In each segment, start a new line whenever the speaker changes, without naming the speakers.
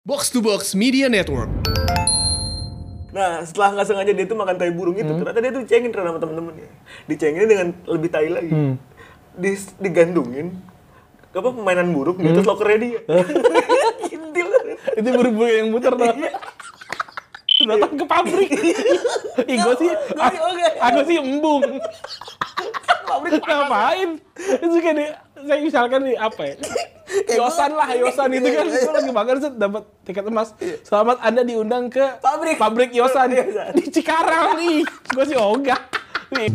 Box to Box Media Network.
Nah, setelah nggak sengaja dia tuh makan tai burung
Hmm.
itu, ternyata dia tuh dicengin ternyata sama temen-temennya. Dicenginnya dengan lebih tai lagi.
Hmm.
Dis- digandungin. Apa permainan buruk di
Hmm.
atas lokernya dia.
Iya.
Gitu Gindil.
itu buru-buru yang muter tuh
Iya.
datang ke pabrik ih gue sih ah,
Gua sih, oke.
aku sih embung ngapain itu kayak di saya misalkan di apa ya
Iya,
yosan lah
Iya,
yosan itu kan itu lagi makan set dapat tiket emas selamat anda diundang ke
Pabrik. Iya,
pabrik yosan
Yosan.
di Cikarang nih gue sih ogah Nih,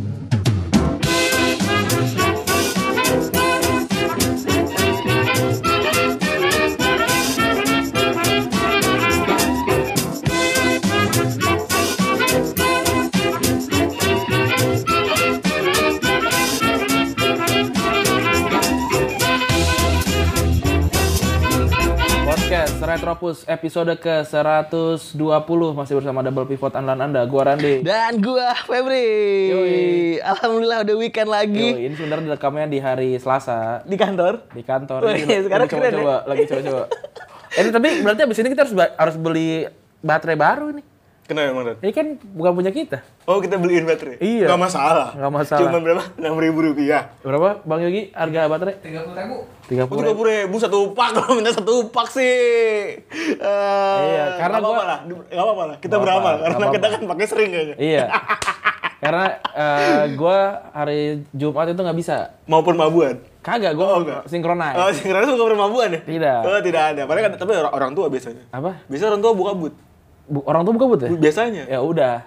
Podcast Retropus episode ke-120 masih bersama Double Pivot andalan Anda, gua Randy.
Dan gua Febri.
Yoi.
Alhamdulillah udah weekend
Yo,
lagi
ini sebenarnya rekamnya di hari Selasa
di kantor.
di kantor.
Wih,
Ini
sekarang
lagi
ya.
coba-coba, lagi coba-coba. Eh, tapi berarti abis ini kita harus ba- harus beli baterai baru nih.
Kenapa emang, Ran?
Ini kan bukan punya kita.
Oh, kita beliin baterai?
Iya.
Nggak masalah.
Nggak masalah.
Cuman berapa? 6 ribu rupiah.
Berapa Bang Yogi harga baterai? 30.000.
Oh, 30
30.000.
ribu satu pak. Kalau minta satu pak sih. Eh,
Iya, karena
nggak apa-apa
gua-
lah. Nggak apa-apa lah. Kita
Nggak
beramal.
apa-apa,
Karena
nggak
kita kan
apa-apa.
pakai sering kayaknya.
Iya. Karena eh, gua hari Jumat itu nggak bisa.
Maupun mabuan.
Kagak, gua
Oh, nggak.
sinkronize.
Oh, sinkronis bukan permabuan ya?
Tidak.
Oh, tidak ada. Padahal kan, tapi orang, orang tua biasanya.
Apa?
Biasanya orang tua buka but.
Bu- orang tuh buka but ya?
Biasanya.
ya udah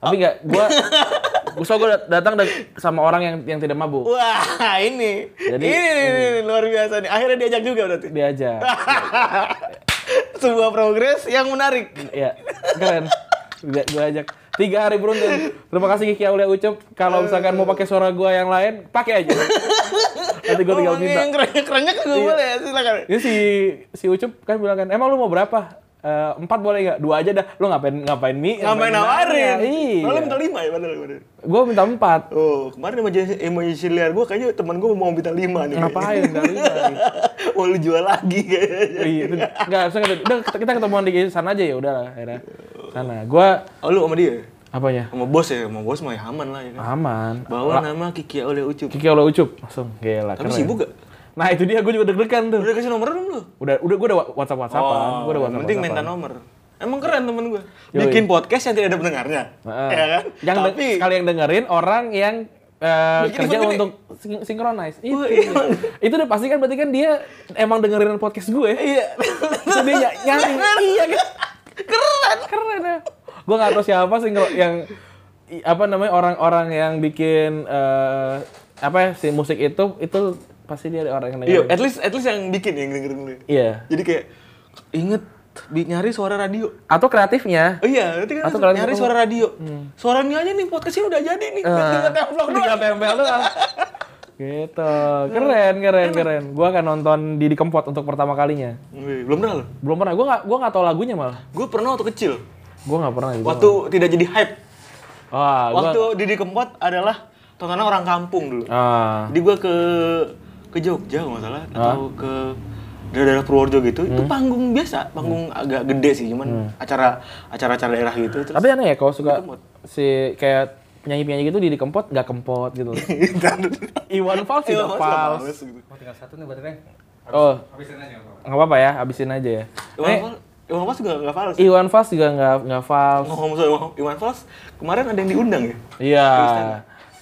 tapi nggak gua gua soal gua datang dan- sama orang yang yang tidak mabuk
Wah, ini.
Jadi-
ini, ini, ini, ini, luar biasa nih. Akhirnya diajak juga berarti.
dia aja
Sebuah progres yang menarik.
ya keren Dia- gua ajak tiga hari beruntun terima kasih Kiki Aulia Ucup kalau misalkan mau pakai suara gua yang lain pakai aja nanti gua tinggal
Ngomongin
minta
yang kerennya-kerennya kan nggak
Iya.
boleh ya, silakan.
ini si si Ucup kan bilang kan emang lu mau berapa Eh, empat boleh nggak dua aja dah lu ngapain ngapain mie
Ngapain nawarin?
nanya? iya
Lalu minta lima ya padahal. padahal.
gua minta empat
Oh, kemarin emoji emoji liar gue kayaknya teman gue mau minta lima nih.
ngapain dari lima
mau lu jual lagi kayaknya.
Iya, itu- nggak harusnya kita, udah kita kita ketemuan di sana aja ya udah lah akhirnya sana. Gua
Oh, lu sama dia?
apanya?
Sama bos ya? Sama bos mah ya aman lah ya kan.
Aman.
Bawa nama Kiki oleh Ucup.
Kiki oleh Ucup langsung gila
Tapi
keren.
sibuk gak?
Nah, itu dia gua juga deg-degan tuh.
Udah kasih nomor belum lu?
Udah udah gua udah WhatsApp-WhatsAppan, gua udah
Oh, yang
WhatsApp.
penting minta nomor. Emang keren temen gue.
Yoi.
Bikin podcast yang tidak ada pendengarnya. Ya kan?
Yang de-
Tapi,
sekali yang dengerin orang yang eh,
Bikin
kerja
event gede.
untuk sing- synchronize. Itu.
Wah, iya.
itu udah pasti kan berarti kan dia emang dengerin podcast gue.
iya.
Terus dia ny- nyanyi. iya kan? Keren. Keren ya. Gue gak tau siapa sih kalau yang i- apa namanya orang-orang yang bikin eh, apa ya si musik itu itu pasti dia ada orang yang
Iya,
dengerin.
at least at least yang bikin yang dengerin dulu.
Iya.
Jadi kayak inget bi- nyari suara radio.
Atau kreatifnya.
Oh iya, nanti kan
Atau kalau
nyari
ketemu- Hmm. Ah.
suara radio. Suaranya aja nih podcastnya udah jadi nih. Tinggal templok
Tinggal
doang.
tempel doang. Gitu. Keren, keren, keren. Gue akan nonton Didi Kempot untuk pertama kalinya.
Wih, Belum pernah lo.
Belum pernah. Gue gak, gua gak tau lagunya malah.
Gue pernah waktu kecil.
Gue gak pernah gitu.
Waktu tidak jadi hype.
Wah, Ah, gua,
Waktu Didi Kempot adalah tontonan orang kampung dulu.
Ah.
Jadi gua ke ke Jogja kalau nggak salah atau ke daerah-daerah Purworejo gitu, itu
Hmm.
panggung biasa, panggung agak gede sih, cuman acara acara-acara daerah gitu. Terus
Tapi aneh ya kalau suka
Kempot.
si kayak penyanyi-penyanyi gitu Didi Kempot gak kempot gitu. Iwan Fals
Iya,
tidak
Mas,
Fals. Eh.
Mas, gitu.
Oh. Nggak apa-apa ya, habisin aja ya.
Iwan Fals,
Eh,
Iwan Fals juga nggak fals.
Iwan Fals juga nggak nggak Fals.
Ngomong soal Iwan- Iwan Fals, kemarin ada yang diundang ya.
Iya.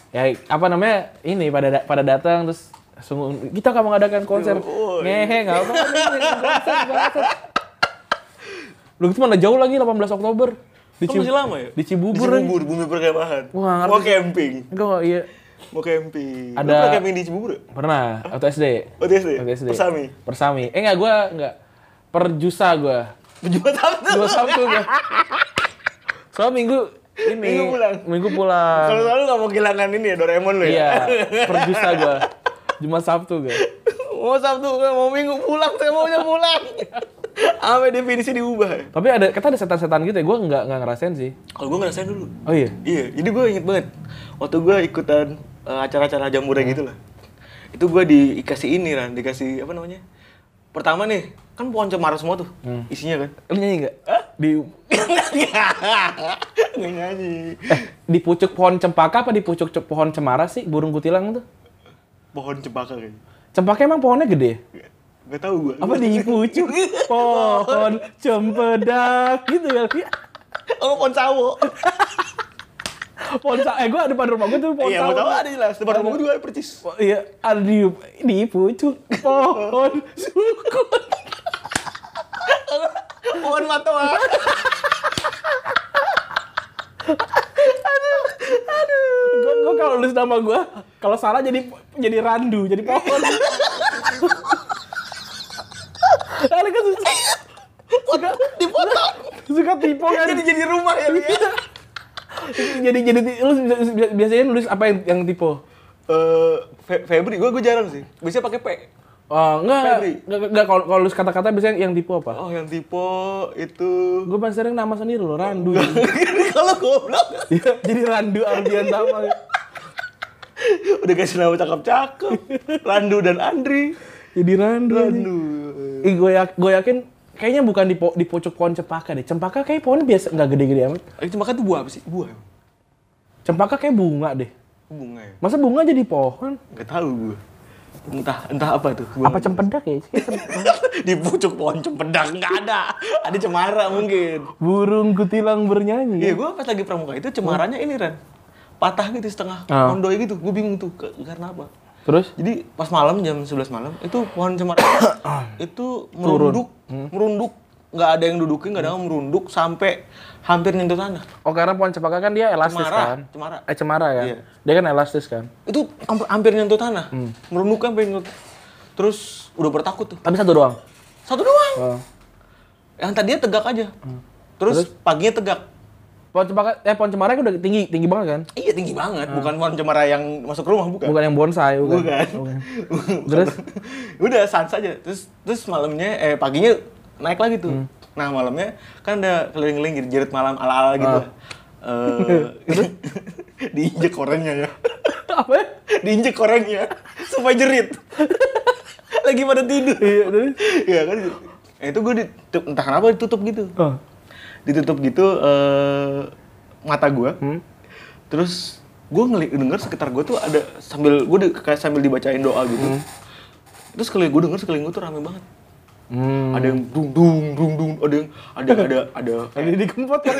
Ya apa namanya ini pada da- pada datang terus sungguh kita akan mengadakan konser.
Yoi.
Ngehe nggak apa-apa. ini konser, konser. Lu itu mana jauh lagi 18 Oktober di,
Kan
Cib-
masih lama ya?
di Cibubur.
Di Cibubur, bumi perkemahan.
Wah, ngerti.
Mau camping,
Gua nggak- iya.
mau camping. Lu
Ada-
pernah camping di Cibubur? ya? Oh,
Pernah, waktu SD.
Waktu SD?
Waktu SD.
Persami?
Persami. Eh enggak, gue enggak. Perjusa gue.
Jumat Sabtu.
Dua Sabtu gue. Soalnya minggu ini.
Minggu pulang.
Minggu pulang.
Kalau selalu nggak mau kehilangan ini ya Doraemon lu ya.
Iya, perjusa gue. Jumat Sabtu gue.
mau Sabtu gue mau Minggu pulang saya maunya pulang sampai definisi diubah ya
Tapi ada, kata ada setan-setan gitu ya, gue enggak, enggak ngerasain sih.
kalau gue ngerasain dulu
Oh iya?
iya jadi gue inget banget waktu gue ikutan eh, acara-acara jambore gitu lah itu gue dikasih ini kan dikasih apa namanya pertama nih kan pohon cemara semua tuh
Hmm.
isinya kan
Lu nyanyi nggak? Di
nggak nyanyi
eh, di pucuk pohon cempaka apa di pucuk ce- pohon cemara sih burung kutilang tuh?
pohon cempaka kayaknya
Cempaka emang pohonnya gede?
nggak tahu gua
Apa di pucuk pohon cempedak gitu kan?
oh pohon sawo
Pohon sa- eh gua depan rumah gua tuh pohon
iya mau
sawo.
tahu ada jelas depan rumah gua juga ada percis
Po- Iya, ada di di pucuk pohon sukun.
pohon matoa
Gue gua kalau nulis nama gue, kalau salah jadi jadi randu, jadi pohon. Ada kan suka suka dipotong, suka tipu kan.
jadi jadi rumah ya Li, ya?
Jadi jadi ti- lu bisa- bisa- biasanya nulis apa yang yang tipu?
Eh, Fe- Febri gua gua jarang sih biasanya pakai P
Oh, enggak,
Febri.
enggak, enggak, kalau kalau nulis kata-kata biasanya yang tipu apa?
oh yang tipe itu
Gue paling sering nama sendiri loh, randu.
kalau goblok
Iya, jadi randu Aldian Tama.
udah kasih nama cakep-cakep Randu dan Andri
Jadi randu. anjing.
Randu
Ih, gue yak- gue yakin kayaknya bukan di, po- di pucuk pohon cempaka deh. Cempaka kayak pohon biasa nggak gede-gede amat.
Eh, kan itu makan tuh buah apa sih buah emang?
Cempaka kayak bunga deh.
bunga ya
Masa bunga jadi pohon?
nggak tahu gua entah entah apa tuh gua
Apa cempedak ya? Kayak cem-
di pucuk pohon cempedang nggak ada ada cemara mungkin
Burung
iya
kutilang bernyanyi.
gua pas lagi pramuka itu cemaranya ini Ren patah gitu setengah
Ah.
kondoi gitu gua bingung tuh ke- karena apa
Terus?
jadi pas malam jam 11 malam itu pohon cemara itu merunduk
Hmm.
merunduk nggak ada yang dudukin nggak ada yang merunduk sampai hampir nyentuh tanah
Oh karena pohon cempaka kan dia elastis
Cemara,
kan?
cemara.
Eh cemara kan?
Iya.
Dia kan elastis kan?
itu hampir, hampir nyentuh tanah
Hmm.
merunduk hampir nyentuh terus udah bertakut tuh
Tapi satu doang.
satu doang
Oh.
yang tadinya tegak aja
Hmm.
terus, paginya tegak
Pohon cempaka, eh pohon cemara kan udah tinggi, tinggi banget kan?
iya tinggi banget bukan pohon cemara yang masuk rumah bukan
Bukan yang bonsai, bukan.
bukan,
Terus?
udah sans aja terus terus malamnya eh paginya naik lagi tuh nah malamnya kan udah keliling-keliling jerit-jerit malam ala-ala gitu lah. Eh, diinjek orangnya ya
apa ya?
diinjek orangnya supaya jerit lagi pada tidur iya kan nah, itu gue ditutup entah kenapa ditutup gitu
Oh.
ditutup gitu eh, mata gue terus gue ngeli denger sekitar gue tuh ada sambil gue kayak sambil dibacain doa gitu terus kali gue denger sekeliling gue tuh rame banget ada yang dung dung dung dung ada yang ada ada ada
Ini dikempot kan?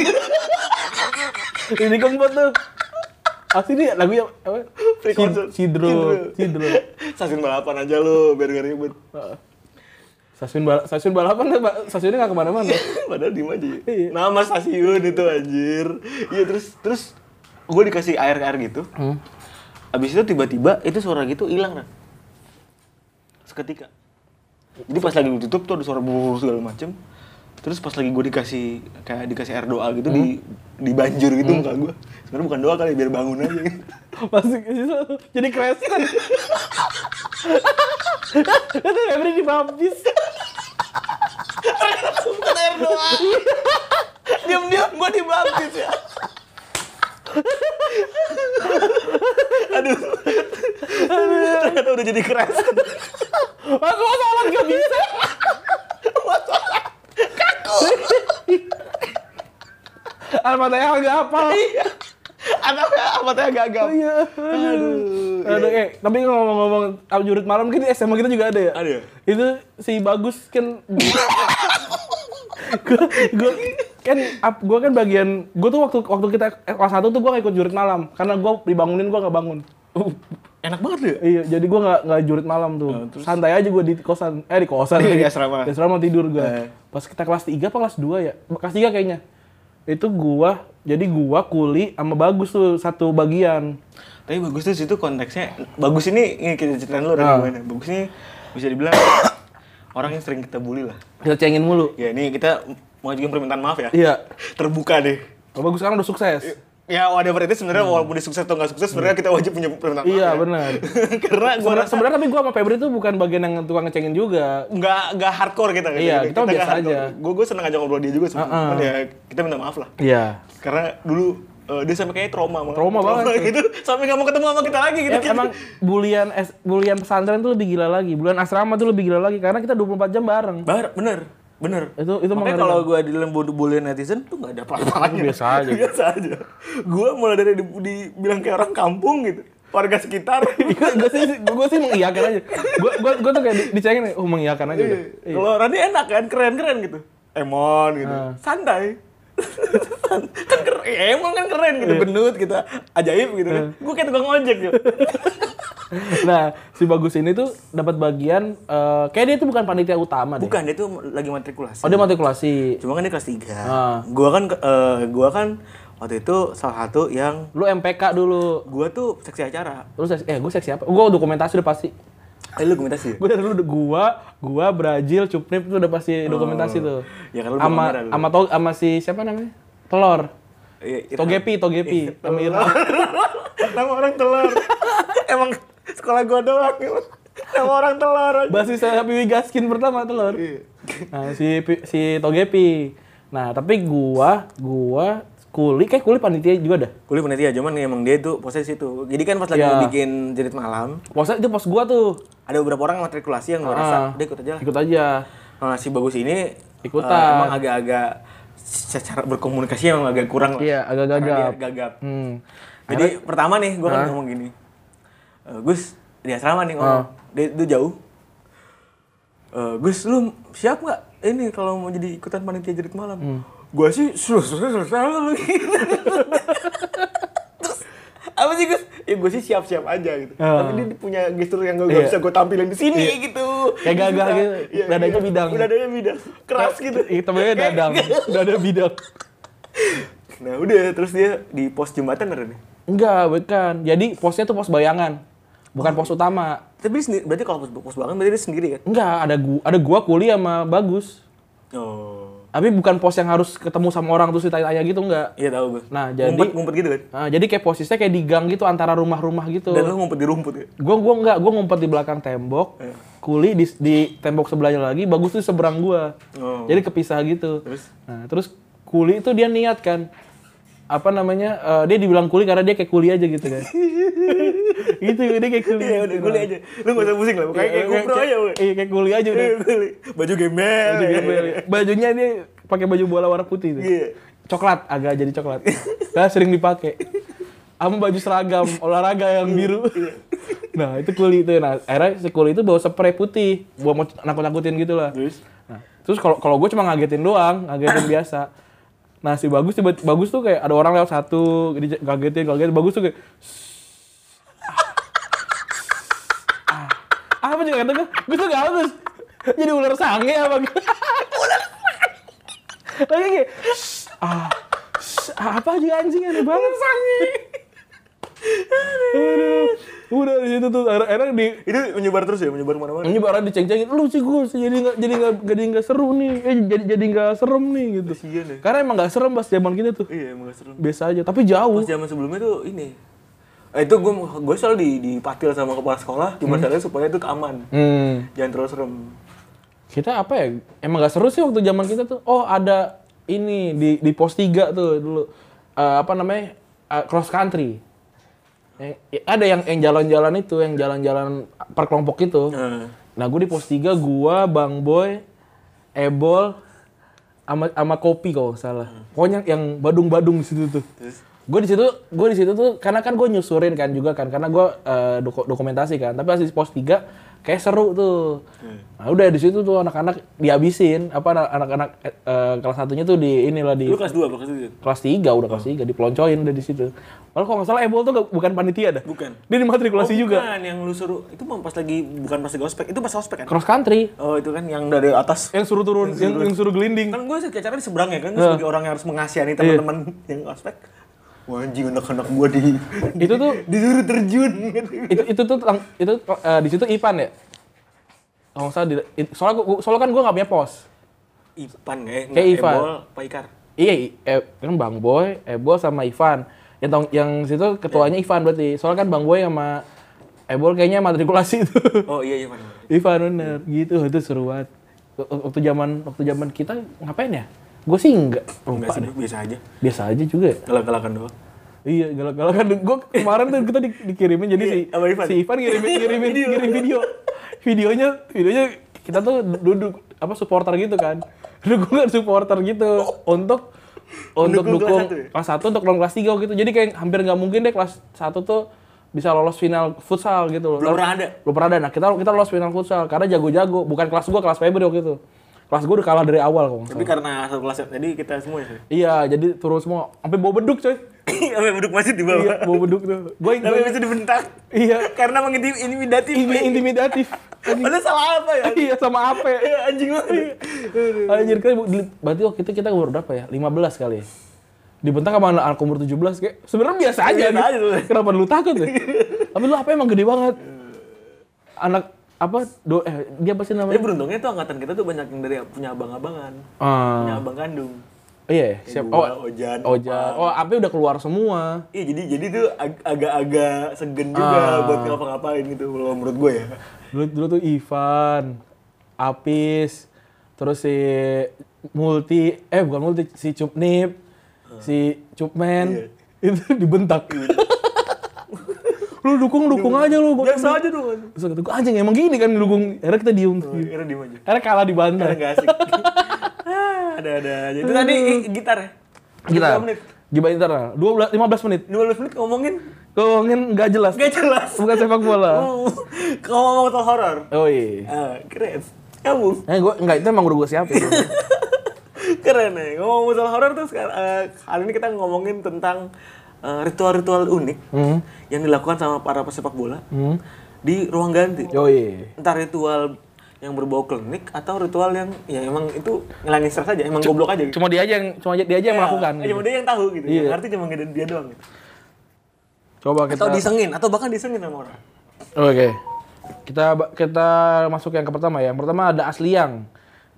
Ini dikempot tuh. Asli nih lagunya apa?
Free
Sid-
concert.
Sidro, Sidro.
sasin balapan aja lo biar gak ribet
Stasiun bala, stasiun balapan tuh, Pak. stasiunnya nggak kemana-mana.
Padahal diem aja. ya.
Iya.
Nama stasiun itu anjir. Iya terus terus gue dikasih air air gitu. Abis itu tiba-tiba itu suara gitu hilang kan. Seketika. Jadi pas lagi gue tutup tuh ada suara burur segala macem. Terus pas lagi gue dikasih kayak dikasih air doa gitu di di banjur gitu muka gue. Sebenarnya bukan doa kali biar bangun aja.
Masuk ke situ, jadi crash kan. Itu Febri dibaptis.
bukan air doa. Diam-diam gue dibaptis ya. Aduh. Ternyata udah jadi keras.
Aku mau sholat nggak bisa. Kaku. Almatanya agak apa?
Anaknya amatnya agak-agak.
Iya.
Aduh.
Aduh, eh, tapi ngomong-ngomong Abang jurit malam kan di SMA kita juga ada ya?
Ada ya?
Itu si Bagus kan gua, gua kan ap- gua kan bagian gua tuh waktu waktu kita eh, kelas 1 tuh gua gak ikut jurit malam karena gua dibangunin gua gak bangun.
Uh, Enak banget ya?
Iya, jadi gua nggak nggak jurit malam tuh. Santai aja gua di kosan. Eh di kosan
Di
lagi.
asrama.
Di asrama tidur gua.
Eh.
Pas kita kelas 3 apa kelas 2 ya? Kelas 3 kayaknya. Itu gua jadi gua kuli sama Bagus tuh satu bagian.
Tapi bagus tuh situ konteksnya. Bagus ini, ini kita ceritain lu
Ah.
ada gimana. Bagus ini bisa dibilang orang yang sering kita bully lah.
Kita cengin mulu.
Ya ini kita mengajukan permintaan maaf ya.
Iya.
Terbuka deh.
Kalau Bagus sekarang udah sukses.
Ya whatever itu sebenarnya walaupun dia sukses atau nggak sukses sebenarnya kita wajib punya permintaan maaf.
Hmm. Iya,
ya.
benar.
Karena gua
Sebenarnya
rasa
sebenarnya tapi gua sama Febri tuh bukan bagian yang tukang ngecengin juga.
nggak nggak hardcore kita
Iya, kita biasa aja.
Gue gue seneng aja ngobrol dia juga Iya,
Heeh.
sebenarnya. Cuman ya kita minta maaf lah.
Iya.
Karena dulu eh, dia sampai kayaknya trauma malah.
Trauma banget.
gitu sampai nggak mau ketemu sama kita lagi gitu
Em- Eh, emang bulian es- bulian pesantren tuh lebih gila lagi, bulian asrama tuh lebih gila lagi karena kita 24 jam bareng.
Bar, bener bener
Itu itu
Makanya
mengerikan.
kalau gue di dalam bu- bulian netizen tuh gak ada apa-apanya
Biasa aja.
Biasa aja Gue mulai dari di- dibilang kayak orang kampung gitu Warga sekitar
gue sih gue sih mengiyakan aja gue gue gue tuh kayak di- dicengin oh mengiyakan aja udah. Iya. Ah.
Kalau Rani enak kan, keren-keren gitu Emon gitu, santai kan keren, ya emang kan keren gitu,
Iya.
benut gitu, ajaib gitu
Ah.
kan. Gue kayak tukang ojek gitu.
nah si bagus ini tuh dapat bagian eh, kayak dia tuh bukan panitia utama deh
Bukan, dia tuh lagi matrikulasi.
oh dia matrikulasi
Cuma kan dia kelas 3.
Ah.
Gua kan ke- eh, gua kan waktu itu salah satu yang
lu MPK dulu
gua tuh seksi acara.
terus eh gue seksi apa gue dokumentasi udah pasti
Eh lu komentasi ya?
gue dari dulu gua gua Brazil Cupnip tuh udah pasti dokumentasi tuh
Ya kan lu
sama
kamera lu.
sama to sama si siapa namanya telor
Iya, Irfan. Iya.
Togepi Togepi sama Irfan
Nama orang telur. Emang sekolah gua doang. Nama orang telur. aja.
basis saya Piwi Gaskin pertama telur.
Iya.
Nah, si Pi- si Togepi. Nah, tapi gua gua kulit kayak kulit panitia juga dah.
Kuliah panitia, cuman emang dia tuh posnya di situ. Jadi kan pas lagi
Iya.
mau bikin jerit malam,
Masa itu pos gua tuh.
ada beberapa orang matrikulasi yang gua rasa,
Ah.
udah ikut aja lah.
Ikut aja.
Nah, si bagus ini
Ikutan.
eh, emang agak-agak secara berkomunikasi emang agak kurang lah.
Iya, agak
Karena
gagap.
dia gagap.
Hmm.
Jadi pertama nih gue kan ngomong gini, "E, Gus di asrama nih
Ah.
ngomong, dia, dia jauh. "E, Gus lu siap nggak ini kalau mau jadi ikutan panitia jerit malam?
Hmm.
Gue sih selesai selesai lu gitu. Terus, apa sih Gus? Ya gue sih siap-siap aja gitu. Tapi dia punya gestur yang gak,
Ah. Iya.
bisa gue tampilin di sini gitu.
Kayak gagah
Susah.
gitu,
Iya,
dadanya
iya.
bidang.
Dadanya bidang, keras gitu.
Itu namanya dadang, dada bidang.
Nah udah terus dia di pos jembatan ada nih.
Enggak, bukan. Jadi posnya tuh pos bayangan. Bukan pos utama.
Tapi dia sendiri, berarti kalau pos, pos banget berarti dia sendiri kan?
Enggak, ada gua ada gua kuliah sama bagus.
Oh.
Tapi bukan pos yang harus ketemu sama orang terus ditanya-tanya gitu enggak.
Iya tahu gue.
Nah, jadi-
ngumpet, ngumpet gitu kan.
Nah, jadi kayak posisinya kayak di gang gitu antara rumah-rumah gitu.
Dan Eh. lu ngumpet di rumput ya.
gue gua nggak gue ngumpet di belakang tembok kuli di, di tembok sebelahnya lagi bagus tuh seberang gua
Oh.
jadi kepisah gitu
Terus?
nah terus kuli itu dia niat kan apa namanya eh, dia dibilang kuli karena dia kayak kuli aja gitu kan gitu dia kayak kuli
Iya udah kuliah aja. Lu gak usah pusing lah, pokoknya kayak
Iya,
GoPro aja udah.
iya kayak kuli aja udah
Iya, kuliah. Baju gembel.
Baju gembel. bajunya dia pakai baju bola warna putih tuh.
Iya.
coklat agak jadi coklat karena sering dipakai sama baju seragam olahraga yang biru
Iya.
nah itu kuli itu nah akhirnya si kuli itu bawa spray putih buat mau nakut nakutin gitu lah
Terus?
nah, terus kalau kalau gue cuma ngagetin doang ngagetin biasa nah si bagus tiba bagus tuh kayak ada orang lewat satu di- ngagetin ngagetin bagus tuh kayak Ah. Ah. apa juga kata gue gue tuh gak bagus jadi ular sange apa lagi kayak "Shh, ah, shh, apa juga anjing aneh banget sange. Aduh, udah di situ tuh akhirnya akhirnya di
Itu menyebar terus ya, menyebar kemana-mana.
ini barang diceng-cengin, lu sih gue jadi nggak jadi nggak jadi nggak seru nih, eh, jadi jadi nggak serem nih gitu.
Kasian ya.
Karena emang nggak serem pas zaman kita tuh,
Iya emang gak seru.
biasa aja. Tapi jauh.
Pas zaman sebelumnya tuh ini. Eh, itu gue gue soal di dipatil sama kepala sekolah cuma caranya supaya itu aman.
Hmm.
Jangan terlalu serem.
Kita apa ya? Emang nggak seru sih waktu zaman kita tuh. Oh ada ini di di pos 3 tuh dulu Eh, apa namanya Eh, cross country. Yang- ya, ada yang yang jalan-jalan itu, yang jalan-jalan per kelompok itu.
Nah,
Nah gue di pos 3 gua, Bang Boy, Ebol, ama ama kopi kalau nggak salah. Pokoknya yang badung-badung di situ tuh. Gue di situ, gue di situ tuh karena kan gue nyusurin kan juga kan, karena gue eh, doku- dokumentasi kan. Tapi pas di pos 3 kayak seru tuh. Nah udah di situ tuh anak-anak dihabisin, apa anak- anak-anak eh, eh, kelas satunya tuh di inilah di
lu kelas 2 apa kelas 3?
kelas 3 udah kelas 3 diploncoin udah di situ. Kalau kalau nggak salah Ebol tuh nggak- bukan panitia dah.
Bukan.
Dia dimatrikulasi juga.
Bukan yang lu suruh itu mah pas lagi bukan pas lagi ospek, itu pas ospek kan.
Cross country
Oh, itu kan yang dari atas.
yang suruh turun, yang, yang suruh gelinding.
kan gue acara di seberang ya kan gua sebagai orang yang harus mengasihani
Iya.
teman-teman yang ospek wah anjing anak-anak gue di
itu tuh
disuruh terjun gitu.
itu itu tuh tang- itu eh, di situ Ipan ya kalau nggak salah di, it- soalnya gua, gua- soalnya kan gue nggak punya pos
Ipan ya,
Kayak Ivan.
Ebol, Pak Ikar.
iya i- eh, kan Bang Boy Ebol sama Ivan yang tong- yang situ ketuanya Ivan berarti soalnya kan Bang Boy sama Ebol kayaknya matrikulasi itu
Oh iya Ivan.
Ivan bener gitu itu seru banget W- waktu zaman waktu zaman kita ngapain ya gue sih nggak
Enggak
lupa
sih,
deh
biasa aja.
biasa aja juga ya.
Galak-galakan doang.
Iya, galak-galak kan. Gue kemarin tuh kita di- dikirimin jadi
Iya,
si
sama Ivan.
si Ivan ngirimin ngirimin
Video.
ngirim video. Videonya videonya kita tuh duduk apa supporter gitu kan. Dukungan supporter gitu untuk untuk
Mendukung kelas
dukung
satu ya?
kelas 1 untuk lawan kelas 3 gitu. Jadi kayak hampir nggak mungkin deh kelas 1 tuh bisa lolos final futsal gitu loh.
Belum pernah
Karena-
ada.
Belum pernah ada. Nah, kita kita lolos final futsal karena jago-jago, bukan kelas gua, kelas Febri waktu itu. Kelas gua udah kalah dari awal kok. nggak
Tapi
salah.
karena satu kelas, jadi kita semua ya.
Iya, jadi turun semua sampai bawa beduk, coy.
Sampai duduk masjid di bawah.
Iya, bawa beduk tuh. Gua
Tapi bisa dibentak.
Iya.
Karena mengintimidatif.
ini intimidatif. Anjing.
Padahal salah apa ya?
iya sama apa?
Iya, Anjing banget.
Anjir kali di- berarti waktu itu kita umur berapa ya? 15 kali. ya? Dibentak sama anak anak umur 17 kayak sebenarnya biasa aja.
Biasa
gitu.
aja.
Kenapa lu takut ya? Tapi lu apa emang gede banget? Anak apa do eh dia apa sih
Tapi
namanya?
beruntungnya tuh angkatan kita tuh banyak yang dari punya abang-abangan.
Ah,
Punya abang kandung.
iya, siap.
Gua,
Oh,
Ojan.
Ojan. Oh, Ape udah keluar semua.
Iya jadi jadi tuh ag- agak-agak segen juga
Ah.
buat ngapa-ngapain gitu kalau menurut gue ya.
Dulu, dulu tuh Ivan, Apis, terus si Multi, eh bukan Multi, si Cupnip, si Cupmen, itu dibentak. lu dukung dukung aja lu. gua-
Biasa aja dong.
Terus kata gue anjing emang gini kan dukung. Akhirnya kita diem.
Kira diem aja.
Akhirnya kalah di
Karena
bantai.
nggak asik. ada ada aja. Itu tadi
Hmm.
i- gitar ya.
Kita
15 menit.
gimana internal? 12 15 menit.
15 menit ngomongin
Kau ngomongin nggak jelas.
nggak jelas.
Bukan sepak bola.
Kalau ngomong tentang horor.
Oh iya.
Ah, keren. Kamu
Eh gue enggak itu emang udah gue siapin.
keren ya. Ngomong masalah horor tuh sekarang eh, kali ini kita ngomongin tentang eh, ritual-ritual unik
Hmm.
yang dilakukan sama para pesepak bola di ruang ganti.
Oh iya.
Entar ritual yang berbau klinik atau ritual yang ya emang itu ngilangin stres aja, emang goblok aja. gitu.
Cuma dia aja yang cuma dia aja yang melakukan.
Ya, cuma dia yang tahu gitu.
Iya.
Yang ngerti cuma dia, dia doang gitu.
Coba kita.
Atau disengin atau bahkan disengin sama orang.
Oke. Kita kita masuk yang ke pertama ya. Yang pertama ada Asliang.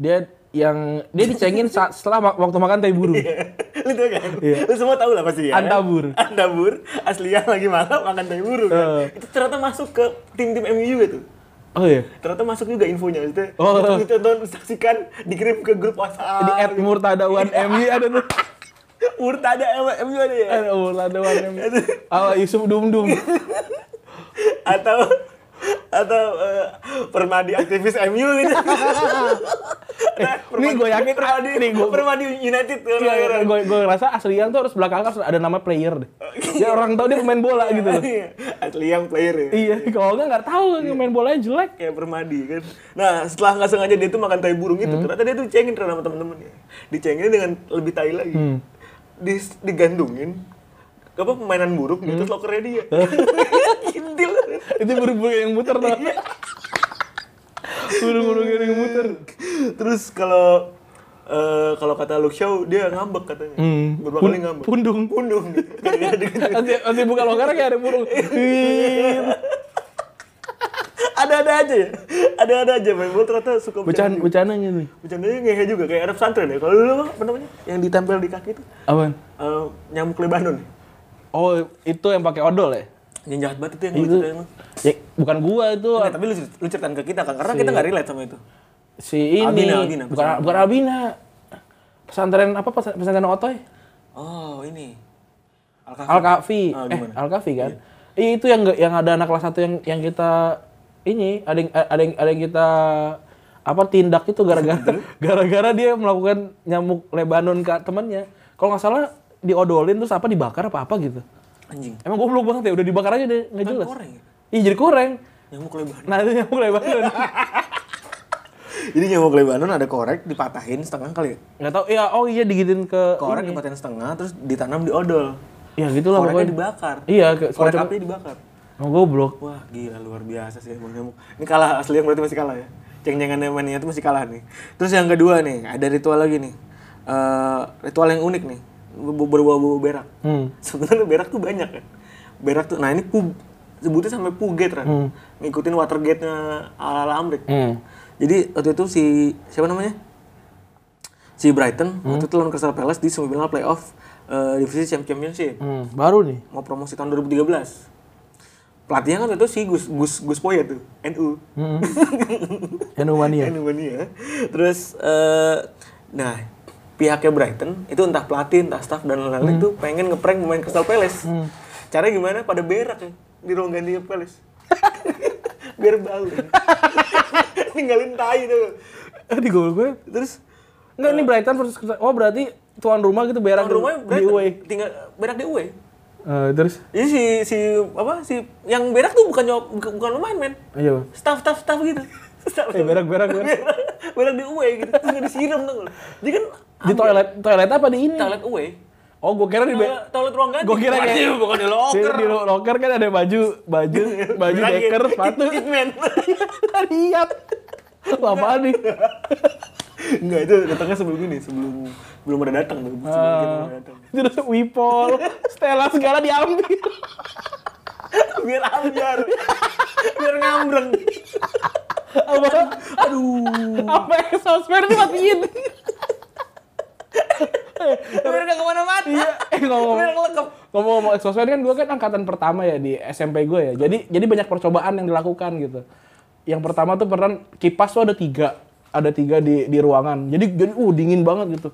Dia yang dia dicengin saat setelah ma- waktu makan tai burung.
Iya. Lu tau kan? Lu semua tahu lah pasti ya. kan?
Iya. Antabur.
Antabur, aslinya lagi malam makan tai burung. kan?
Eh.
Itu ternyata masuk ke tim-tim gitu. MU juga tuh.
Oh iya.
ternyata masuk juga infonya itu
Oh.
itu tonton saksikan dikirim ke grup WhatsApp
Di app Murtada One MU ada tuh.
Murtada MU ada ya
Ada Murtada One MU. Ah, Yusuf Dum Dum.
atau atau eh, permadi aktivis MU gitu Nah,
Eh, Ini
Permadi-
gue yakin
permadi
ini Iya, gue
permadi United gitu. orang-orang.
gue gue rasa Asliang tuh harus belakang harus ada nama player deh. Ya orang tahu dia pemain bola gitu loh.
Iya, asli yang player ya
Iya, kalau enggak nggak tahu yang main bolanya jelek.
kayak permadi kan nah setelah nggak sengaja dia tuh makan tai burung itu
Hmm.
ternyata dia tuh cengin ternyata sama temen-temennya dicengin dengan lebih tai lagi
Hmm.
Dis- digandungin apa mainan burung
Hmm.
gitu terus lokernya dia
Eh.
kintil
Itu burung-burung yang muter tuh. Burung-burung yang muter.
terus kalau eh, kalau kata Luke Shaw dia ngambek katanya beberapa kali ngambek
Hmm. Pundung.
pundung Gara-gara digandung.
nanti nanti buka loker kayak ada burung. Wih.
ada-ada aja ya ada-ada aja main bola ternyata suka
Becan becananya nih.
bercandanya ngehe juga kayak Arab santren ya kalau dulu apa namanya yang ditempel di kaki itu
Apaan?
eh, nyamuk Lebanon
Oh, itu yang pakai odol ya?
Yang jahat banget itu yang
Itu
lucu emang.
ya, bukan gua itu
Nah, tapi lu, lu ceritain ke kita kan, karena kita nggak relate sama itu.
si ini
Albina, Albina,
bukan bukan Albina. Pesantren apa Pesa- pesantren Otoy?
Oh ini. Alkafi.
Al Kafi.
Ah,
eh,
gimana?
Al Kafi kan? Iya. Itu yang nggak- yang ada anak kelas satu yang yang kita ini ada yang ada yang, ada yang kita apa tindak itu gara-gara gara-gara dia melakukan nyamuk Lebanon ke temannya. Kalau nggak salah diodolin terus apa dibakar apa apa gitu.
Anjing.
Emang goblok banget ya, udah dibakar aja deh, nggak jelas.
Koreng. ya?
Iya jadi koreng.
Nyamuk Lebanon.
Nah itu nyamuk Lebanon.
Jadi nyamuk Lebanon ada korek dipatahin setengah kali. ya?
Nggak tahu, iya oh iya digituin ke.
Korek dipatahin setengah terus ditanam di odol.
Ya gitu lah
Koreknya
pokoknya.
dibakar.
Iya, ke-
Korek
semacam-
apinya dibakar.
Oh goblok.
Wah gila luar biasa sih emang nyamuk. Ini kalah asli yang berarti masih kalah ya. Ceng-cengan yang mainnya itu masih kalah nih. Terus yang kedua nih ada ritual lagi nih. Eh, ritual yang unik nih. Ber- Berbau-bau berak. Sebenarnya berak tuh banyak kan. Berak tuh. Nah ini pub sebutnya sampai puget kan. Ngikutin watergate-nya ala ala Amrik. Jadi waktu itu si siapa namanya? Si Brighton waktu itu lawan Crystal Palace di semifinal playoff eh, divisi Championship
Hmm, baru nih.
mau promosi tahun 2013 pelatihnya kan itu si Gus Gus Gus Poyet tuh NU
Enomania.
NU mania terus eh, ya. nah pihaknya Brighton itu entah pelatih entah staff dan lain-lain itu pengen ngeprank pemain Crystal Palace caranya gimana pada berak ya, di ruang gantinya Palace biar bau ninggalin tai tuh
di gol gue.
terus
Enggak, ini Brighton versus Oh, berarti tuan rumah gitu berak
orang rumahnya
di- di
Brighton
away.
tinggal berak di away
Eh, terus
jadi si si apa si yang berak tuh bukan nyok- bukan bukan pemain men
ayo. Iya, Bang.
staff staff staff gitu Staff.
Eh, berak, berak, berak.
berak di away gitu terus nggak disiram tuh jadi kan
Di toilet toilet apa di ini?
toilet away
Oh, gue kira di be-
toilet, toilet ruang ganti
Gua kira kayak-
Waduh, bukan di
di,
locker
di lo- locker kan ada baju, baju, baju
Bilangin,
deker, sepatu.
"It- it man."
Lihat. Lama nih.
Enggak itu datangnya sebelum ini, sebelum belum ada datang tuh. Sebelum kita belum ada datang.
Terus Wipol, Stella segala diambil.
Biar ambiar. Biar ngambreng.
Apa?
Aduh.
Apa yang sosmed dimatiin?
Biar enggak kemana mana
Iya, eh
Biar
ngomong
ngelekep.
ngomong-ngomong eksklusif kan gue kan angkatan pertama ya di SMP gue ya. Jadi jadi banyak percobaan yang dilakukan gitu. Yang pertama tuh pernah kipas tuh ada tiga, ada tiga di di ruangan. Jadi jadi uh dingin banget gitu.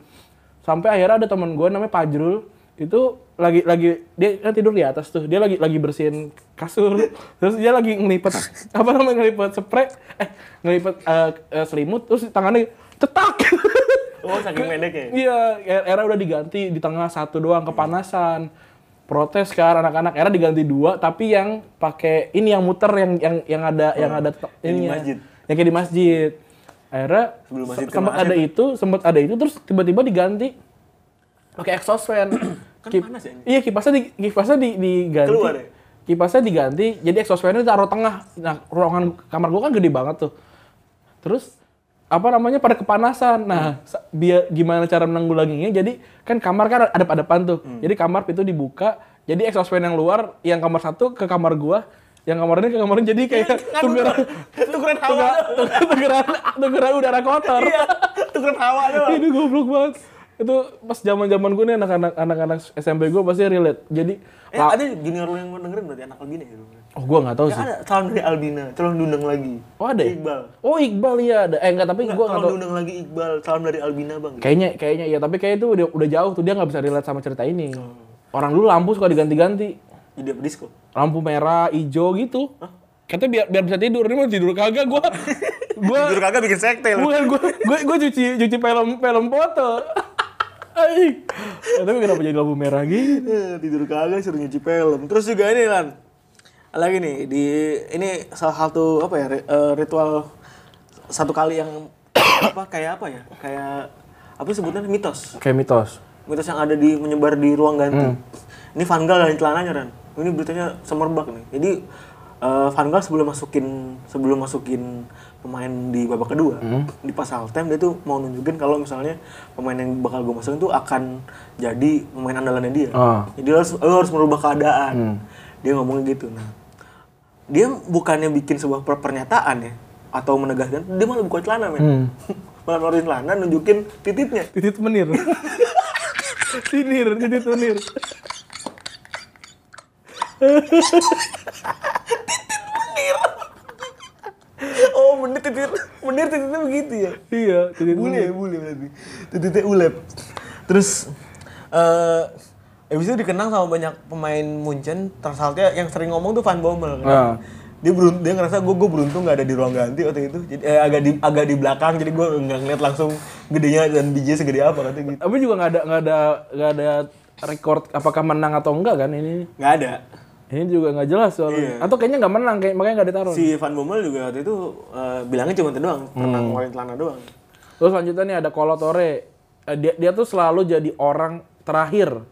Sampai akhirnya ada teman gue namanya Pajrul itu lagi lagi dia kan tidur di atas tuh dia lagi lagi bersihin kasur terus dia lagi ngelipet apa namanya ngelipet spray eh ngelipet eh, eh, selimut terus tangannya cetak
Oh, saking pendeknya.
Iya, era udah diganti di tengah satu doang kepanasan. Protes kan anak-anak era diganti dua, tapi yang pakai ini yang muter yang yang yang ada yang ada
yang di
ini
masjid.
Yang kayak di masjid. Era
Sebelum masjid ke
sempat
masjid.
ada itu, sempat ada itu terus tiba-tiba diganti pakai exhaust fan. Kip-
panas ya ini?
Iya, kipasnya di, kipasnya di, diganti.
Keluar ya?
Kipasnya diganti, jadi exhaust fan-nya ditaruh tengah. Nah, ruangan kamar gua kan gede banget tuh. Terus apa namanya pada
Hmm.
kepanasan. Nah, sa- biar gimana cara menanggulanginya? Jadi kan kamar kan ada pada depan tuh.
Hmm.
Jadi kamar pintu dibuka, jadi exhaust fan yang luar yang kamar satu ke kamar gua, yang kamar ini ke kamar ini jadi kayak tukeran
Kan Tukeran hawa.
tukeran tukeran tukeran udara kotor.
Iya, tukeran hawa doang.
Ini goblok banget. Itu pas zaman-zaman gue nih anak-anak anak-anak SMP gue pasti relate. Jadi
Eh,
ah,
ada junior lo yang mau dengerin berarti anak Albina ya? dulu?
oh gue nggak tahu
Ya
sih.
ada calon dari Albina, calon dundang lagi.
Oh ada ya?
Iqbal.
Oh Iqbal iya ada. Eh enggak tapi
Enggak,
gue nggak
calon
tahu.
dundang lagi Iqbal, calon dari Albina bang.
Kayaknya kayaknya iya tapi kayak itu udah, udah jauh tuh dia nggak bisa relate sama cerita ini. Orang dulu lampu suka diganti-ganti.
Jadi apa disco?
Lampu merah, hijau gitu. Katanya biar biar bisa tidur. Ini mau tidur kagak gua. gua
Jujur Eh, kagak bikin sekte lu.
bukan gua gua, gua cuci cuci film film foto. Aik. Ya, tapi kenapa jadi lampu merah gitu?
Eh, tidur kagak suruh nyuci film terus juga ini lan lagi nih di ini salah satu apa ya ri- eh, ritual satu kali yang apa kayak apa ya kayak apa sebutannya mitos
Kayak mitos.
mitos yang ada di menyebar di ruang ganti ini Van Gaal dan celananya Ran ini beritanya semerbak nih jadi eh, Van Gaal sebelum masukin sebelum masukin pemain di babak kedua di pas halftime dia tuh mau nunjukin kalau misalnya pemain yang bakal gue masukin tuh akan jadi pemain andalannya dia
Ah.
jadi lo harus, lo harus merubah keadaan dia ngomongnya gitu nah dia bukannya bikin sebuah per- pernyataan ya atau menegaskan dia malah buka celana men malah ngeluarin celana nunjukin titiknya
Titit menir. Sinir, titit menir.
Oh, menir titit, menir tititnya begitu ya.
Iya, titit
Bule ya, bule berarti. Tititnya ulep. Terus eh abis itu dikenang sama banyak pemain Munchen, tersaltnya yang sering ngomong tuh Van Bommel
Ah.
kan. Dia beruntung, dia ngerasa gue gue beruntung nggak ada di ruang ganti waktu itu. Jadi eh, agak di agak di belakang jadi gue nggak ngeliat langsung gedenya dan bijinya segede apa katanya gitu.
Tapi juga nggak ada nggak ada nggak ada record apakah menang atau enggak kan ini
Nggak ada.
ini juga nggak jelas soalnya
Iya.
atau kayaknya nggak menang kayak makanya nggak ditaruh
Si Van Bommel juga waktu itu eh, bilangnya cuma itu doang, pernah
Hmm.
ngeluarin celana doang.
terus selanjutnya nih ada Kolotore Eh, dia dia tuh selalu jadi orang terakhir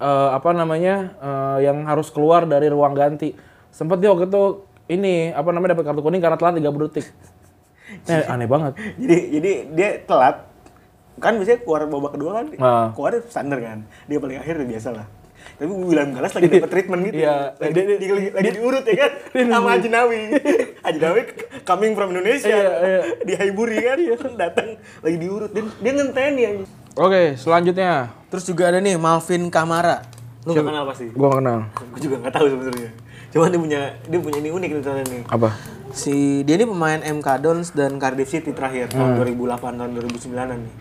eh, apa namanya eh, yang harus keluar dari ruang ganti sempet dia waktu itu ini apa namanya dapat kartu kuning karena telat 30 detik Eh, aneh banget
jadi jadi dia telat kan biasanya keluar babak kedua kan
Ah.
keluar standar kan dia paling akhir udah biasa lah tapi William Galas lagi dapat treatment gitu
Iya.
lagi,
Dia- dia-
lagi, lagi diurut ya kan sama Haji Nawi Haji Nawi coming from Indonesia
Iya, iya.
di Haiburi kan datang lagi diurut dia, dia ngenteni ya
oke selanjutnya
terus juga ada nih Malvin Kamara lu gak kenal pasti
gua nggak kenal
gue juga nggak tahu sebenarnya cuman dia punya dia punya ini unik nih ternyata nih
apa
si dia ini pemain
Hmm.
MK Dons dan Cardiff City terakhir tahun 2008 tahun 2009 nih.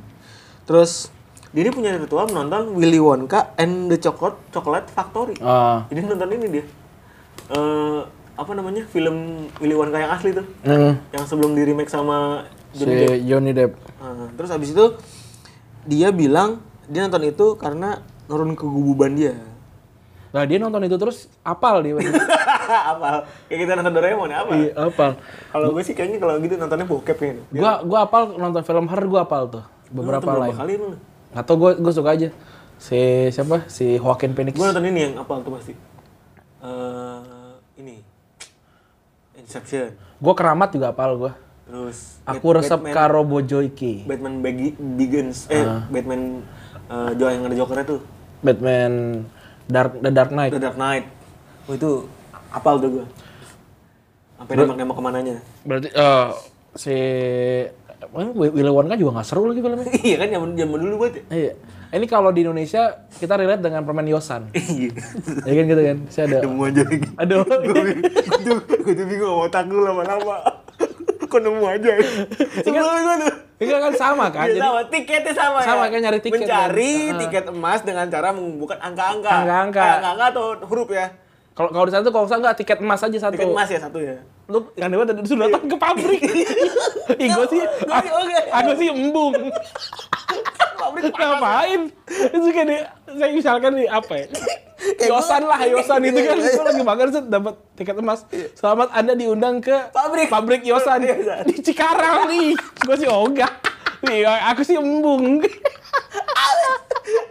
Terus Dia ini punya ritual menonton Willy Wonka and the Chocolate Chocolate Factory.
Ah.
Jadi nonton ini dia. Eh, apa namanya? Film Willy Wonka yang asli tuh.
Hmm,
Yang sebelum di remake sama
si Johnny Depp.
Ah, terus abis itu dia bilang dia nonton itu karena nurun kegububan dia.
Nah dia nonton itu terus apal dia.
apa? Kayak kita nonton Doraemon ya, apa?
Iya, apal.
Kalau gue sih kayaknya kalau gitu nontonnya bokep kayaknya. Lu
Gua gua apal nonton film horror gua apal tuh
nonton
beberapa
berapa
lain.
kali emang?
Atau gua gua suka aja si siapa si Joaquin Phoenix.
Gue nonton ini yang apa tuh pasti? Eh, ini. Inception.
Gua keramat juga apal gua.
Terus
Aku
Bat-
resep
Batman,
karo bojo iki.
Batman Begi- Begins eh
Ah.
Batman eh, Jo yang ada Jokernya tuh.
Batman Dark The Dark Knight.
The Dark Knight. Oh, itu apal tuh gue. Sampai nembak-nembak kemananya.
Berarti eh si eh, Willy Wonka juga nggak seru lagi filmnya.
iya kan zaman zaman dulu banget ya.
Iya. Ini kalau di Indonesia kita relate dengan permen Yosan.
Iya.
ya kan gitu kan. Saya ada
Nemu aja lagi.
Aduh.
Gue tuh bingung sama otak lu lama-lama. Kok nemu aja ya? Sebelum gue tuh.
Ini kan sama kan.
Iya,
Jadi
sama, tiketnya sama, ya?
Sama, kayak nyari tiket,
Mencari
kan? Ah.
tiket emas dengan cara mengumpulkan angka-angka.
Angka-angka.
Eh, Angka-angka atau huruf ya.
kalau kalau di sana tuh kalau nggak salah nggak tiket emas aja satu.
Tiket emas ya satu ya.
Lu yang dewa tadi sudah datang ke pabrik. Ih gua sih
Gua
ah,
sih oke.
Aku sih embung.
Pabrik
Ngapain? Itu kayak di, saya misalkan nih apa ya? Yosan lah, Yosan itu
Iya,
kan itu lagi makan set dapat tiket emas. Selamat Anda diundang ke
Pabrik. Iya,
pabrik Yosan
Yosan.
di Cikarang nih. Gue sih ogah. Nih, aku sih embung.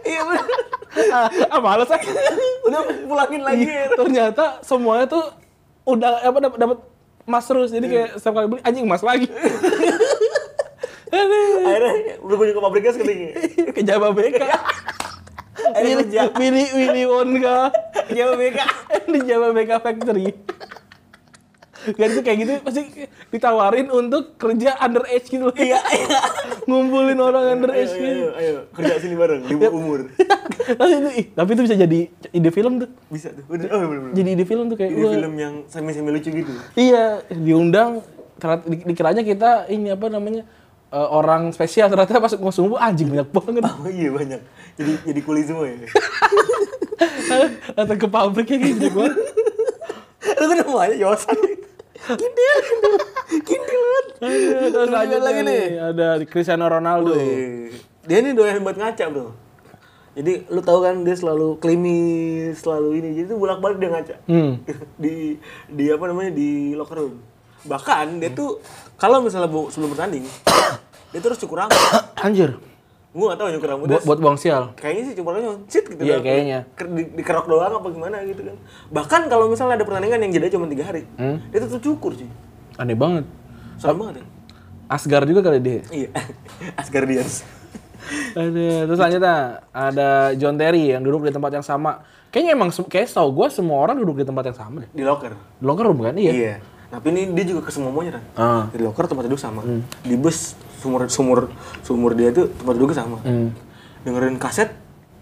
Iya bener.
ah, males ah.
Udah pulangin lagi. ya.
Iya,
Ternyata semuanya tuh udah apa dapat dapat emas terus. Jadi
Iya.
kayak setiap kali beli anjing emas lagi. Aduh,
Akhirnya udah gue ke ya pabriknya sekali.
ke Jabba BK.
Akhirnya kerja.
Willy Willy Wonka.
Jawab BK.
di Java Mega Factory. Dan itu kayak gitu pasti ditawarin untuk kerja underage gitu loh.
Iya, iya.
Ngumpulin orang
Ayo,
underage
ayo,
gitu.
ayo, ayo, kerja sini bareng,
Iya.
di bawah umur.
tapi itu
iya.
ih, tapi itu bisa jadi ide film tuh.
Bisa tuh. Udah, oh, bener, bener.
Jadi ide film tuh kayak
Ini
wah,
film yang semi-semi lucu gitu.
Iya, diundang ternyata di- dikiranya kita ini apa namanya? eh, orang spesial ternyata pas gua sumpah anjing banyak banget
Oh iya banyak. Jadi jadi kuli semua ya.
datang ke pabrik kayak gitu gua.
Lu kan mau aja Yosan. Kindil, kindil, kindil.
Terus
Terus
lanjut
lagi nih.
ada Cristiano Ronaldo.
Dia ini doyan buat ngaca bro. Jadi lu tahu kan dia selalu klimis, selalu ini. Jadi tuh bolak balik dia ngaca.
Hmm.
di di apa namanya di locker room. Bahkan dia tuh kalau misalnya bu- sebelum bertanding, dia terus cukur rambut.
Anjir,
Gua gak tahu cukur rambut.
buat buat buang sial.
kayaknya sih cuma cuma cit gitu doang.
Iya, kayaknya.
Ker- di, dikerok doang apa gimana gitu kan bahkan kalau misalnya ada pertandingan yang jeda cuma tiga hari
Hmm.
itu tuh cukur sih
Aneh banget.
serem banget ya
Asgar juga kali dia.
iya Asgardians
Ada terus lanjutnya ada John Terry yang duduk di tempat yang sama. Kayaknya emang sem- kayak tau gue semua orang duduk di tempat yang sama deh.
di locker
Di Locker room kan? Iya.
iya tapi ini dia juga ke semua kan
Ah. Hmm.
di locker tempat duduk sama di bus sumur sumur sumur dia tuh tempat duduk sama
Hmm.
dengerin kaset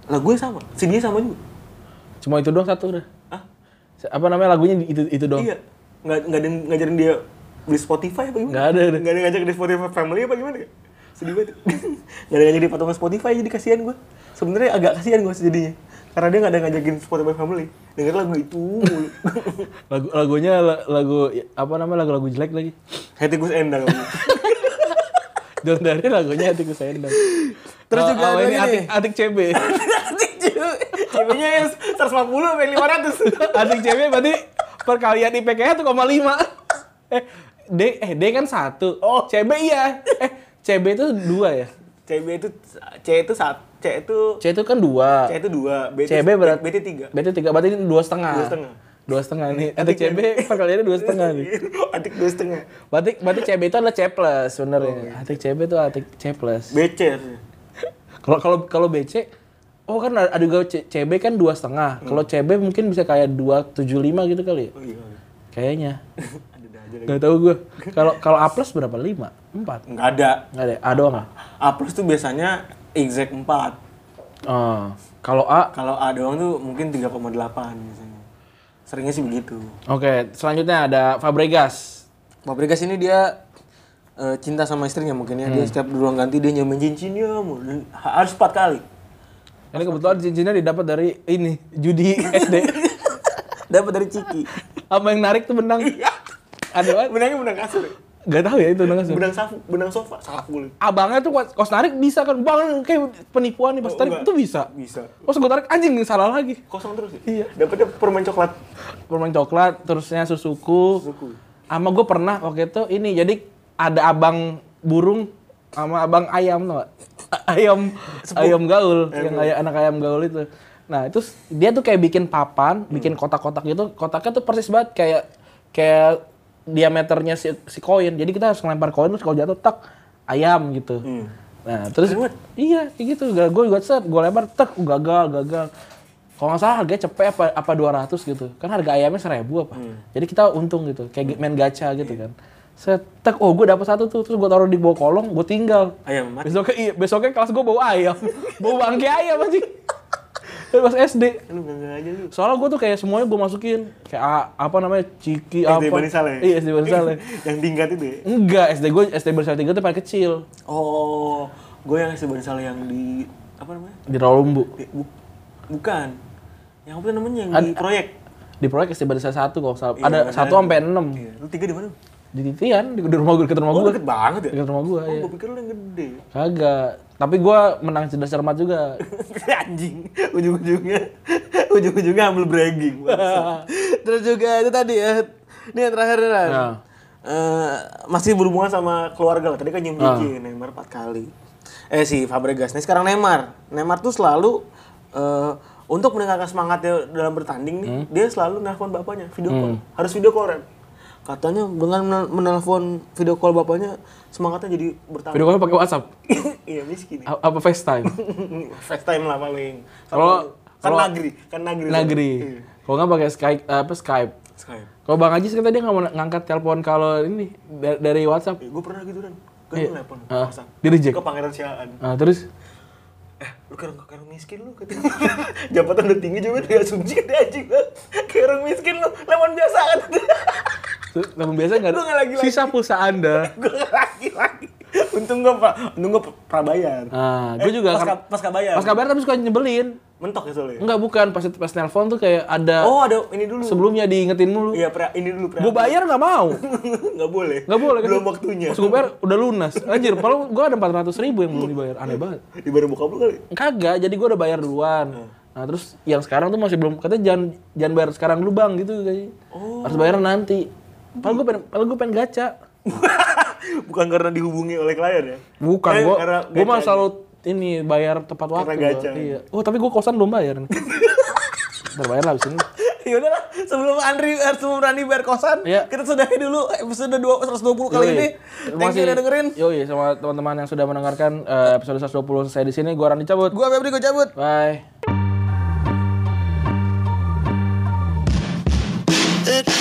lagunya sama CD-nya sama juga
Cuma itu doang satu udah.
Hah?
Apa namanya lagunya itu itu doang.
iya nggak nggak ada yang ngajarin dia beli Spotify apa gimana
Nggak ada, udah.
nggak ada yang ngajak di Spotify Family apa gimana ya? sedih banget nggak ada yang ngajak di patungan Spotify jadi kasihan gue sebenarnya agak kasihan gue jadinya karena dia nggak ada yang ngajakin Spotify Family denger lagu itu mulu.
Lagu lagunya la- lagu apa namanya lagu-lagu jelek lagi.
hati gue endang
Oh, John Terry lagunya Hatiku Sendang.
Terus juga ada
oh, ini
lagi
atik,
nih.
atik CB.
ceweknya yang 150 sampai 500
atik CB berarti perkalian IPK-nya 1,5. Eh D eh D kan satu. Oh, CB iya. Eh CB itu dua ya.
CB itu C itu saat C itu
C itu kan dua.
C itu dua B itu
CB berarti
B itu tiga
BT tiga berarti ini dua setengah.
Dua setengah. ya?
Dua setengah nih. Ada CB perkaliannya dua setengah nih.
atik dua setengah
Berarti berarti CB itu adalah C plus sebenarnya.
Oh, iya.
Atik CB itu atik C plus.
BC harusnya.
Kalau kalau kalau BC oh kan ada ada juga C- CB kan dua
Hmm.
setengah. Kalau CB mungkin bisa kayak dua tujuh lima gitu kali. ya?
oh iya
Kayaknya.
ada aja lagi
Gak tau gue. Kalau kalau A plus berapa lima? Empat.
nggak ada
Nggak ada. A doang ah.
A plus tuh biasanya exact 4.
Oh, kalau A
Kalau A doang tuh mungkin 3,8 biasanya. Seringnya sih begitu.
Oke, selanjutnya ada Fabregas.
Fabregas ini dia eh, cinta sama istrinya mungkin ya. Dia
Hmm.
setiap berulang ganti dia nyobain cincinnya mulu. Dan ha- harus empat kali.
Ini kebetulan cincinnya didapat dari ini judi SD.
Dapat dari Ciki.
Apa yang narik tuh benang? Ada apa?
Iya. Benangnya benang kasur. ya?
Gak tahu ya itu benang kasur.
Benang safu, benang sofa, safu.
Abangnya tuh kos kos narik bisa kan bang kayak penipuan nih pas tarik
enggak.
itu bisa.
Bisa.
Pas gue tarik anjing salah lagi.
Kosong terus ya?
Iya.
Dapatnya permen coklat.
permen coklat, terusnya susuku. Sama gue pernah waktu itu ini jadi ada abang burung sama abang ayam tau gak? A- Ayam ayam gaul, yang ayam, anak ayam gaul itu. Nah, itu s- dia tuh kayak bikin papan, bikin kotak-kotak gitu. Kotaknya tuh persis banget kayak kayak diameternya si, si koin. Jadi kita harus ngelempar koin terus kalau jatuh tak ayam gitu.
Iya.
Nah, terus
Keren banget.
iya kayak gitu. Gue juga set, gue lempar tek uh, gagal, gagal kalau nggak salah harganya cepet apa apa 200 gitu kan harga ayamnya 1000 apa jadi kita untung gitu kayak main gacha gitu kan setek oh gue dapet satu tuh terus gue taruh di bawah kolong gue tinggal
Ayam mati.
besoknya iya, besoknya kelas gue bawa ayam bawa bangke ayam anjing Dari pas SD
Lu enggak aja lu.
soalnya gue tuh kayak semuanya gue masukin kayak a- apa namanya ciki apa
SD Bani Saleh.
iya SD Bani Saleh
yang tingkat itu ya.
enggak SD gue SD Bani Saleh tiga tuh paling kecil
Oh, gue yang SD Bani Saleh yang di apa namanya?
di Rawalumbu
Di- bu- bukan. Yang apa namanya yang di
Ad-
proyek?
di proyek SD Bani Saleh satu kalau nggak salah
Iya,
ada
Bani
satu
Saleh.
sampai enam
Iya. Lu tiga di mana?
di titian di di rumah gue deket rumah
Oh,
gue
deket banget ya?
deket rumah gue
Oh,
ya
gue pikir lu yang gede.
Kagak. Tapi gua menang cerdas cermat juga.
Anjing, ujung-ujungnya ujung-ujungnya ambil bragging. bangsa. Terus juga itu tadi ya. Ini yang terakhir nih, Ran.
Nah.
Eh, masih berhubungan sama keluarga lah. Tadi kan nyium cincin Neymar 4 kali. Eh si Fabregas. Nah, sekarang Neymar. Neymar tuh selalu eh, untuk meningkatkan semangatnya dalam bertanding nih, dia selalu nelpon bapaknya video call. Harus video call, Ran. Katanya dengan menel- menelpon video call bapaknya semangatnya jadi bertambah.
Video call pakai WhatsApp.
iya, miskin. ya.
A- Apa FaceTime?
FaceTime lah paling.
Kalau-
kan
kalau-
nagri, kan nagri.
Negeri. Kalau nggak pakai Skype eh, apa Skype.
Skype.
Kalau Bang Haji kan tadi nggak mau ngangkat telepon kalau ini da- dari WhatsApp.
gue pernah gitu kan. Gue
Iya.
nelpon.
Ah,
pasang.
di reject.
Ke Pangeran Siaan.
Nah, terus
Eh, lu kayak orang- kayak orang miskin lu katanya. Jabatan udah tinggi juga dia asumsi dia anjing lu. Kayak orang miskin lu, lawan biasa kan.
tuh, telepon biasa nggak
Lu nggak
ada.
lagi-lagi.
Sisa pulsa Anda.
gue lagi lagi. Untung gue pak, untung gue prabayar.
Nah, gue juga
Eh, pas,
kar-
pas kabayar.
Pas kabar tapi suka nyebelin.
mentok ya soalnya.
Enggak bukan, pas pas telepon tuh kayak ada
Oh ada ini dulu.
sebelumnya diingetin mulu.
Iya pra, ini dulu pra.
Gua bayar nggak mau.
nggak boleh.
Nggak boleh kan?
Belum waktunya.
Pas gua bayar udah lunas. Anjir, kalau gua ada 400 ribu yang belum dibayar. Aneh banget.
Di baru bokap lu kali.
kagak jadi gue udah bayar
Hmm.
duluan nah terus yang sekarang tuh masih belum katanya jangan jangan bayar sekarang dulu bang gitu kayak
Oh.
harus bayar nanti padahal gue pengen padahal gue pengen gacha
Bukan karena dihubungi oleh klien ya.
bukan
Eh,
gue
karena
gue mah
gacha.
selalu ini bayar tepat waktu gua.
gacha.
iya oh tapi gue kosan belum bayar ntar bayar lah abis ini
Ya udahlah, sebelum Andri eh, sebelum Rani bayar kosan,
Iya.
kita sudahi dulu episode 2 120 kali ini.
Yoi. Terima
Thank you
kasih. Iya.
udah dengerin.
yoi sama teman-teman yang sudah mendengarkan eh, episode 120 saya di sini gue Rani cabut
Gua Febri gua cabut.
bye
It